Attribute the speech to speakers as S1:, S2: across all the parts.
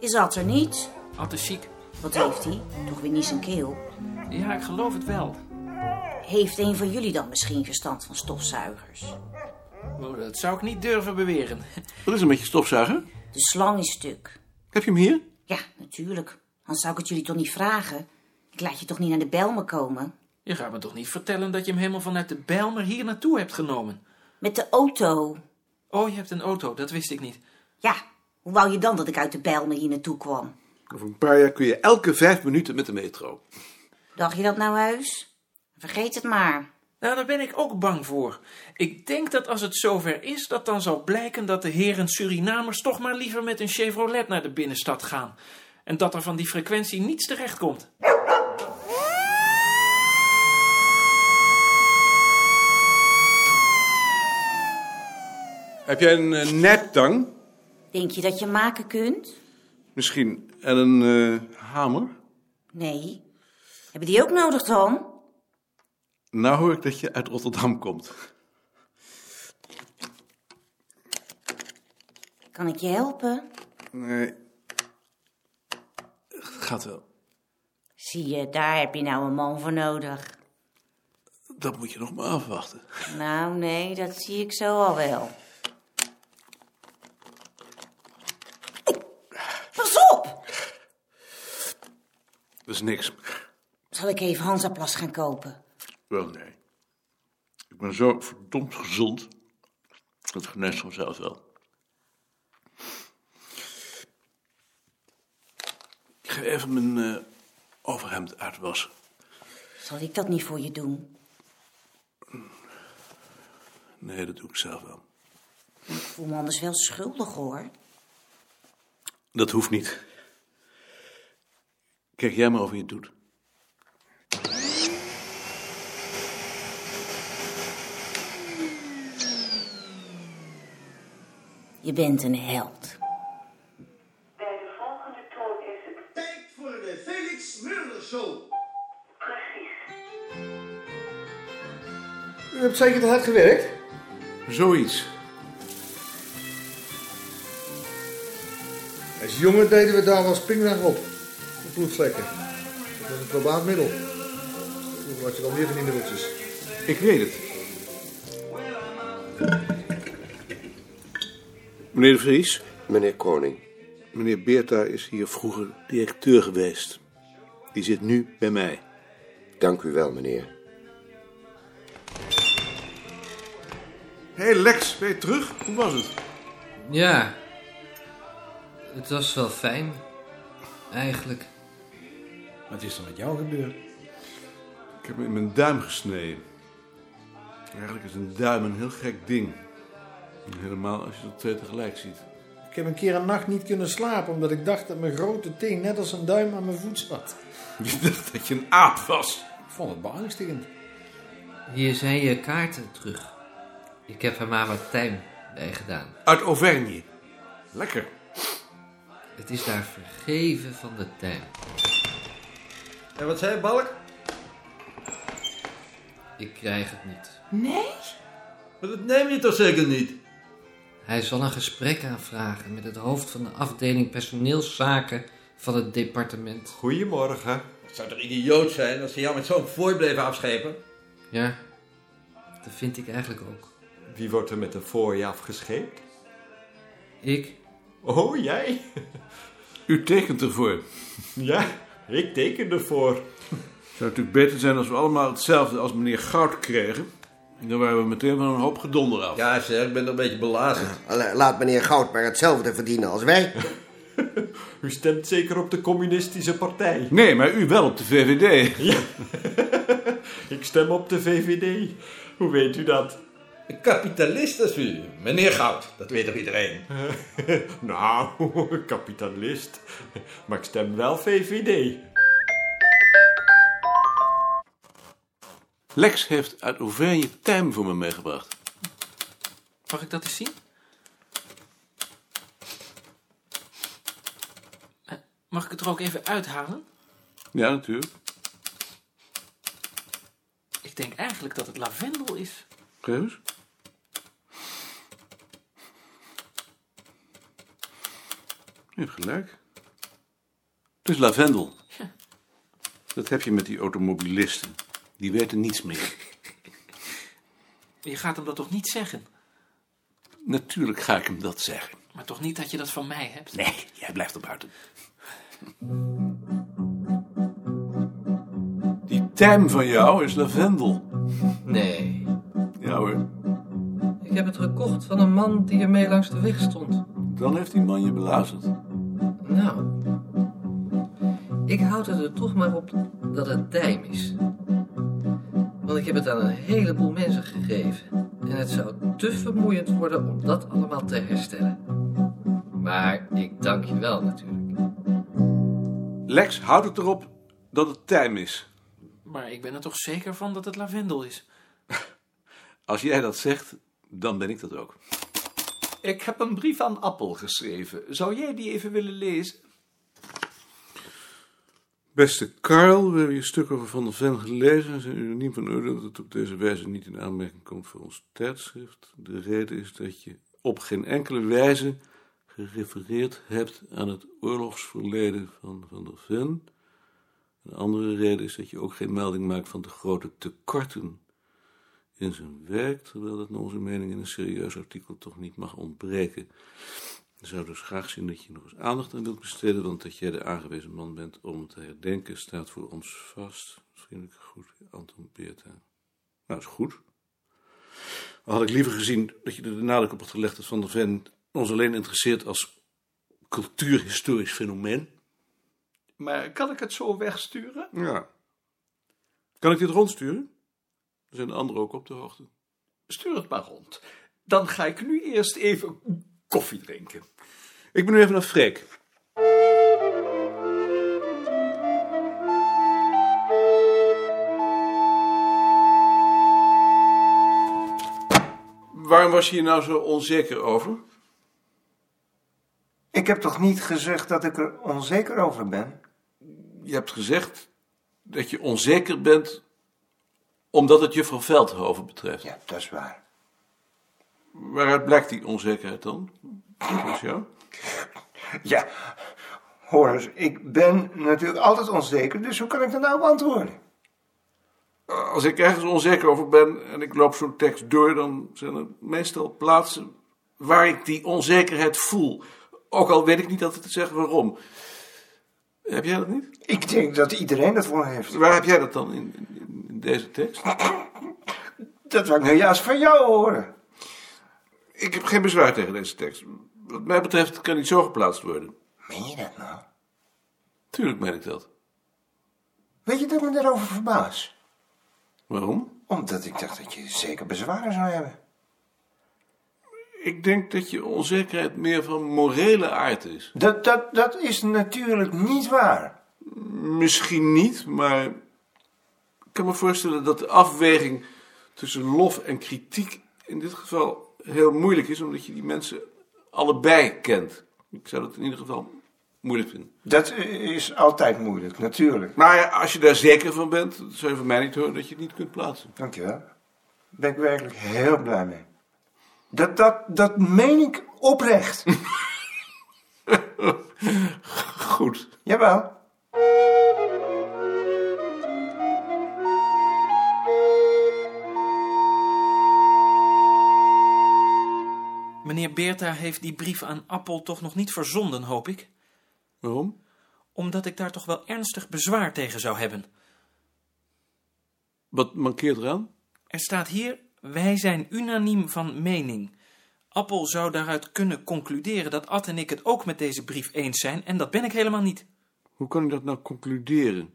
S1: zat er niet.
S2: Ad is ziek.
S1: Wat heeft hij? Toch weer niet zijn keel.
S2: Ja, ik geloof het wel.
S1: Heeft een van jullie dan misschien verstand van stofzuigers?
S2: Oh, Dat zou ik niet durven beweren.
S3: Wat is er met je stofzuiger?
S1: De slang is stuk.
S3: Heb je hem hier?
S1: Ja, natuurlijk. Anders zou ik het jullie toch niet vragen. Ik laat je toch niet naar de Belmen komen?
S2: Je gaat me toch niet vertellen dat je hem helemaal vanuit de Bijlmer hier naartoe hebt genomen?
S1: Met de auto.
S2: Oh, je hebt een auto, dat wist ik niet.
S1: Ja, hoe wou je dan dat ik uit de Bijlmer hier naartoe kwam?
S3: Over een paar jaar kun je elke vijf minuten met de metro.
S1: Dacht je dat nou, huis? Vergeet het maar.
S2: Nou, daar ben ik ook bang voor. Ik denk dat als het zover is, dat dan zal blijken dat de heren Surinamers toch maar liever met een Chevrolet naar de binnenstad gaan. En dat er van die frequentie niets terechtkomt.
S3: Heb jij een eh, nijptang?
S1: Denk je dat je maken kunt?
S3: Misschien. En een eh, hamer?
S1: Nee. Hebben die ook nodig dan?
S3: Nou hoor ik dat je uit Rotterdam komt.
S1: Kan ik je helpen?
S3: Nee. Gaat wel.
S1: Zie je, daar heb je nou een man voor nodig.
S3: Dat moet je nog maar afwachten.
S1: Nou, nee, dat zie ik zo al wel. Pas op!
S3: Dat is niks.
S1: Zal ik even Hansaplast gaan kopen?
S3: Wel, nee. Ik ben zo verdomd gezond. Dat geneest vanzelf wel. Ik ga even mijn eh, overhemd uitwassen.
S1: Zal ik dat niet voor je doen?
S3: Nee, dat doe ik zelf wel.
S1: Ik voel me anders wel schuldig hoor.
S3: Dat hoeft niet. Kijk jij maar over je doet.
S1: Je bent een held.
S4: Bij de volgende toon is het
S5: Tijd voor de Felix Murder Show.
S4: precies.
S5: U hebt zeker te hard gewerkt?
S3: Zoiets.
S5: Als jongen deden we daar wel springweg op. Op bloedvlekken. Dat was een probaat middel. Vroeger had je dan weer van die middeltjes.
S3: Ik weet het. Meneer de Vries,
S6: Meneer Koning,
S3: meneer Beerta is hier vroeger directeur geweest. Die zit nu bij mij.
S6: dank u wel, meneer.
S3: Hé hey Lex, ben je terug? Hoe was het?
S7: Ja. Het was wel fijn. Eigenlijk.
S8: Wat is er met jou gebeurd?
S3: Ik heb me in mijn duim gesneden. Eigenlijk is een duim een heel gek ding. En Helemaal als je dat twee tegelijk ziet.
S8: Ik heb een keer een nacht niet kunnen slapen omdat ik dacht dat mijn grote teen net als een duim aan mijn voet zat.
S3: Je dacht dat je een aap was.
S8: Ik vond het beangstigend.
S7: Hier zijn je kaarten terug. Ik heb er maar wat tijm bij gedaan.
S3: Uit Auvergne. Lekker.
S7: Het is daar vergeven van de tijm.
S5: En wat zei Balk?
S7: Ik krijg het niet.
S5: Dat neem je toch zeker niet?
S7: Hij zal een gesprek aanvragen met het hoofd van de afdeling personeelszaken van het departement.
S9: Goedemorgen.
S5: Het zou toch idioot zijn als ze jou met zo'n fooi bleven afschepen?
S7: Ja, dat vind ik eigenlijk ook.
S9: Wie wordt er met een fooi afgescheept?
S7: Ik?
S9: Oh, jij?
S3: U tekent ervoor.
S9: Ja, ik teken ervoor.
S3: Het zou natuurlijk beter zijn als we allemaal hetzelfde als meneer Goud kregen. En dan waren we meteen van een hoop gedonder af.
S5: Ja zeg, ik ben er een beetje belazerd.
S6: Allee, Laat meneer Goud maar hetzelfde verdienen als wij.
S9: U stemt zeker op de communistische partij.
S3: Nee, maar u wel op de VVD.
S9: Ik stem op de VVD. Hoe weet u dat?
S5: Een kapitalist als u. Meneer Goud, dat weet toch iedereen?
S9: nou, kapitalist. Maar ik stem wel VVD.
S3: Lex heeft uit Auvergne tijm voor me meegebracht.
S2: Mag ik dat eens zien? Eh, Mag ik het er ook even uithalen?
S3: Ja, natuurlijk.
S2: Ik denk eigenlijk dat het lavendel is.
S3: Geef eens. Je hebt gelijk. is lavendel. Dat heb je met die automobilisten. Die weten niets meer.
S2: Je gaat hem dat toch niet zeggen?
S3: Natuurlijk ga ik hem dat zeggen.
S2: Maar toch niet dat je dat van mij hebt?
S3: Nee, jij blijft er buiten. Die tijm van jou is lavendel.
S7: Nee.
S3: Ja hoor,
S7: Ik heb het gekocht van een man die ermee langs de weg stond.
S3: dan heeft die man je belazerd.
S7: Nou, ik houd het er toch maar op dat het tijm is. Want ik heb het aan een heleboel mensen gegeven. En het zou te vermoeiend worden om dat allemaal te herstellen. Maar ik dank je wel natuurlijk.
S3: Lex, houd het erop dat het tijm is.
S2: Maar ik ben er toch zeker van dat het lavendel is?
S3: Als jij dat zegt, dan ben ik dat ook.
S10: Ik heb een brief aan Appel geschreven. Zou jij die even willen lezen?
S3: Beste Karl, we hebben je stuk over Van der Ven gelezen en zijn unaniem van oordeel dat het op deze wijze niet in aanmerking komt voor ons tijdschrift. De reden is dat je op geen enkele wijze gerefereerd hebt aan het oorlogsverleden van Van der Ven. Een andere reden is dat je ook geen melding maakt van de grote tekorten in zijn werk, terwijl dat naar onze mening in een serieus artikel toch niet mag ontbreken. Ik zou dus graag zien dat je nog eens aandacht aan wilt besteden, want dat jij de aangewezen man bent om te herdenken, staat voor ons vast. Vriendelijk goed, Anton Beerta. Nou, is goed. Al had ik liever gezien dat je er de nadruk op had gelegd dat Van der Ven ons alleen interesseert als cultuurhistorisch fenomeen.
S10: Maar kan ik het zo wegsturen?
S3: Ja. Kan ik dit rondsturen? Er zijn de anderen ook op de hoogte.
S10: Stuur het maar rond. Dan ga ik nu eerst even koffie drinken.
S3: Ik ben nu even naar Freek. Waarom was je hier nou zo onzeker over?
S11: Ik heb toch niet gezegd dat ik er onzeker over ben?
S3: Je hebt gezegd dat je onzeker bent omdat het juffrouw Veldhoven betreft.
S11: Ja, dat is waar.
S3: Waaruit blijkt die onzekerheid dan? Volgens jou?
S11: Ja, hoor eens, ik ben natuurlijk altijd onzeker, dus hoe kan ik dat nou op antwoorden?
S3: Als ik ergens onzeker over ben en ik loop zo'n tekst door, dan zijn er meestal plaatsen waar ik die onzekerheid voel. Ook al weet ik niet altijd te zeggen waarom. Heb jij dat niet?
S11: Ik denk dat iedereen dat wel heeft.
S3: Waar heb jij dat dan in, in, in deze tekst?
S11: Dat wil ik nou juist van jou horen.
S3: Ik heb geen bezwaar tegen deze tekst. Wat mij betreft kan die zo geplaatst worden.
S11: Meen je dat nou?
S3: Tuurlijk meen ik dat.
S11: Weet je dat ik me daarover verbaas?
S3: Waarom?
S11: Omdat ik dacht dat je zeker bezwaren zou hebben.
S3: Ik denk dat je onzekerheid meer van morele aard is.
S11: Dat, dat, dat is natuurlijk niet waar.
S3: Misschien niet, maar ik kan me voorstellen dat de afweging tussen lof en kritiek in dit geval heel moeilijk is, omdat je die mensen allebei kent. Ik zou dat in ieder geval moeilijk vinden.
S11: Dat is altijd moeilijk, natuurlijk.
S3: Maar als je daar zeker van bent, dan zou je van mij niet horen dat je het niet kunt plaatsen.
S11: Dankjewel. Daar ben ik werkelijk heel blij mee. Dat, dat, dat meen ik oprecht.
S3: Goed.
S11: Jawel.
S2: Meneer Beerta heeft die brief aan Appel toch nog niet verzonden, hoop ik?
S3: Waarom?
S2: Omdat ik daar toch wel ernstig bezwaar tegen zou hebben.
S3: Wat mankeert eraan?
S2: Er staat hier: Wij zijn unaniem van mening. Appel zou daaruit kunnen concluderen dat Ad en ik het ook met deze brief eens zijn, en dat ben ik helemaal niet.
S3: Hoe kan ik dat nou concluderen?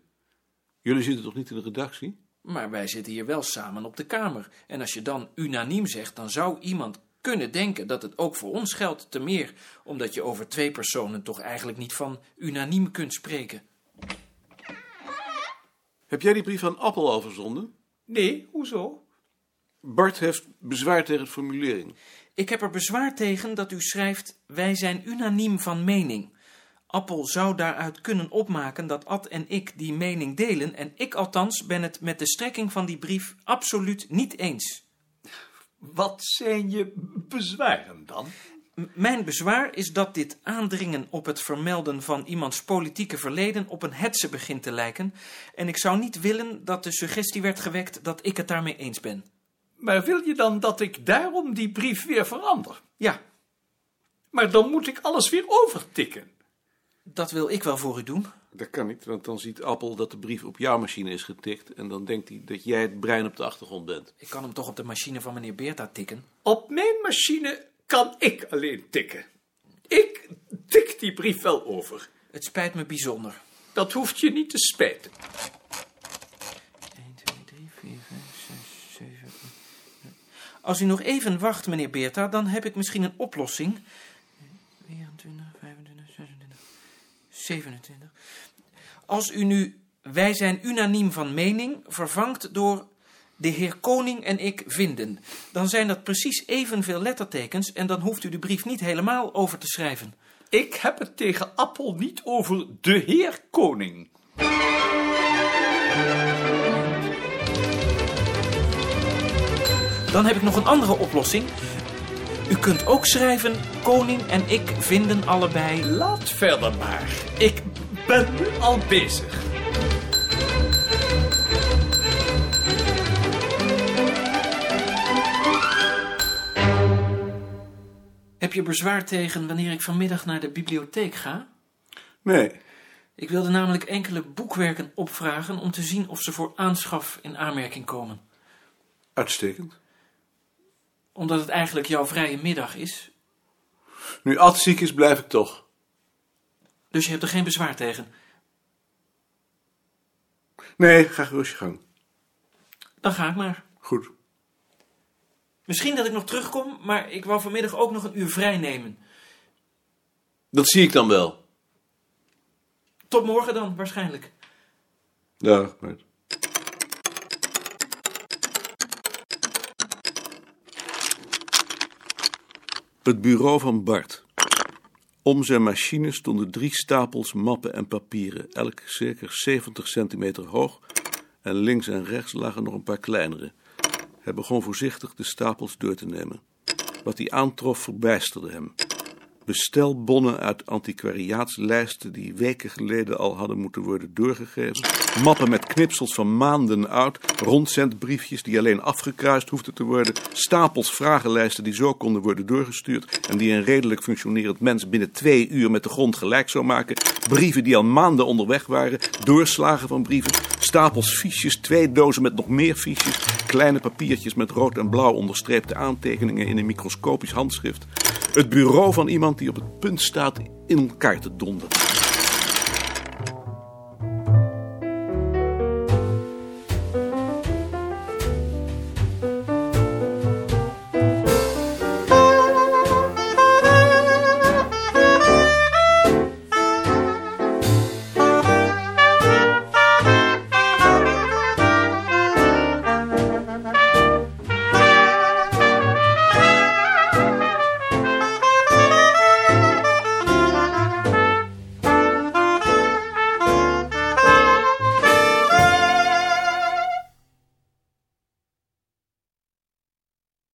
S3: Jullie zitten toch niet in de redactie?
S2: Maar wij zitten hier wel samen op de kamer. En als je dan unaniem zegt, dan zou iemand kunnen denken dat het ook voor ons geldt, te meer omdat je over twee personen toch eigenlijk niet van unaniem kunt spreken.
S3: Heb jij die brief aan Appel al verzonden?
S2: Nee, hoezo?
S3: Bart heeft bezwaar tegen de formulering.
S2: Ik heb er bezwaar tegen dat u schrijft: Wij zijn unaniem van mening. Appel zou daaruit kunnen opmaken dat Ad en ik die mening delen, en ik althans ben het met de strekking van die brief absoluut niet eens.
S10: Wat zijn je bezwaren dan?
S2: M- Mijn bezwaar is dat dit aandringen op het vermelden van iemands politieke verleden op een hetze begint te lijken. En ik zou niet willen dat de suggestie werd gewekt dat ik het daarmee eens ben.
S10: Maar wil je dan dat ik daarom die brief weer verander?
S2: Ja,
S10: Maar dan moet ik alles weer overtikken.
S2: dat wil ik wel voor u doen.
S3: Dat kan niet, want dan ziet Appel dat de brief op jouw machine is getikt. En dan denkt hij dat jij het brein op de achtergrond bent.
S2: Ik kan hem toch op de machine van meneer Beerta tikken?
S10: Op mijn machine kan ik alleen tikken. Ik tik die brief wel over.
S2: Het spijt me bijzonder.
S10: Dat hoeft je niet te spijten.
S2: 1, 2, 3, 4, 5, 6, 7. Als u nog even wacht, meneer Beerta, dan heb ik misschien een oplossing. 24, 25, 26, 27. Als u nu wij zijn unaniem van mening vervangt door de heer Koning en ik vinden, dan zijn dat precies evenveel lettertekens en dan hoeft u de brief niet helemaal over te schrijven.
S10: Ik heb het tegen Appel niet over de heer koning.
S2: Dan heb ik nog een andere oplossing. U kunt ook schrijven: Koning en ik vinden allebei.
S10: Laat verder maar. Ik ben nu al bezig.
S2: Heb je bezwaar tegen wanneer ik vanmiddag naar de bibliotheek ga?
S3: Nee,
S2: Ik wilde namelijk enkele boekwerken opvragen om te zien of ze voor aanschaf in aanmerking komen.
S3: uitstekend.
S2: Omdat het eigenlijk jouw vrije middag is,
S3: Nu Ad ziek is, blijf ik toch.
S2: dus je hebt er geen bezwaar tegen.
S3: Nee, ga rustig gang.
S2: Dan ga ik maar.
S3: Goed.
S2: Misschien dat ik nog terugkom, maar ik wou vanmiddag ook nog een uur vrij nemen.
S3: Dat zie ik dan wel.
S2: Tot morgen dan, waarschijnlijk.
S3: Dag, meid. Het bureau van Bart. Om zijn machine stonden drie stapels mappen en papieren, elk circa 70 centimeter hoog. En links en rechts lagen nog een paar kleinere. Hij begon voorzichtig de stapels door te nemen. Wat hij aantrof verbijsterde hem. Bestelbonnen uit antiquariaatslijsten die weken geleden al hadden moeten worden doorgegeven. Mappen met knipsels van maanden oud. Rondzendbriefjes die alleen afgekruist hoefden te worden. Stapels vragenlijsten die zo konden worden doorgestuurd. En die een redelijk functionerend mens binnen twee uur met de grond gelijk zou maken. Brieven die al maanden onderweg waren. Doorslagen van brieven. Stapels fiches. Twee dozen met nog meer fiches. Kleine papiertjes met rood en blauw onderstreepte aantekeningen in een microscopisch handschrift. Het bureau van iemand die op het punt staat in elkaar te donderen.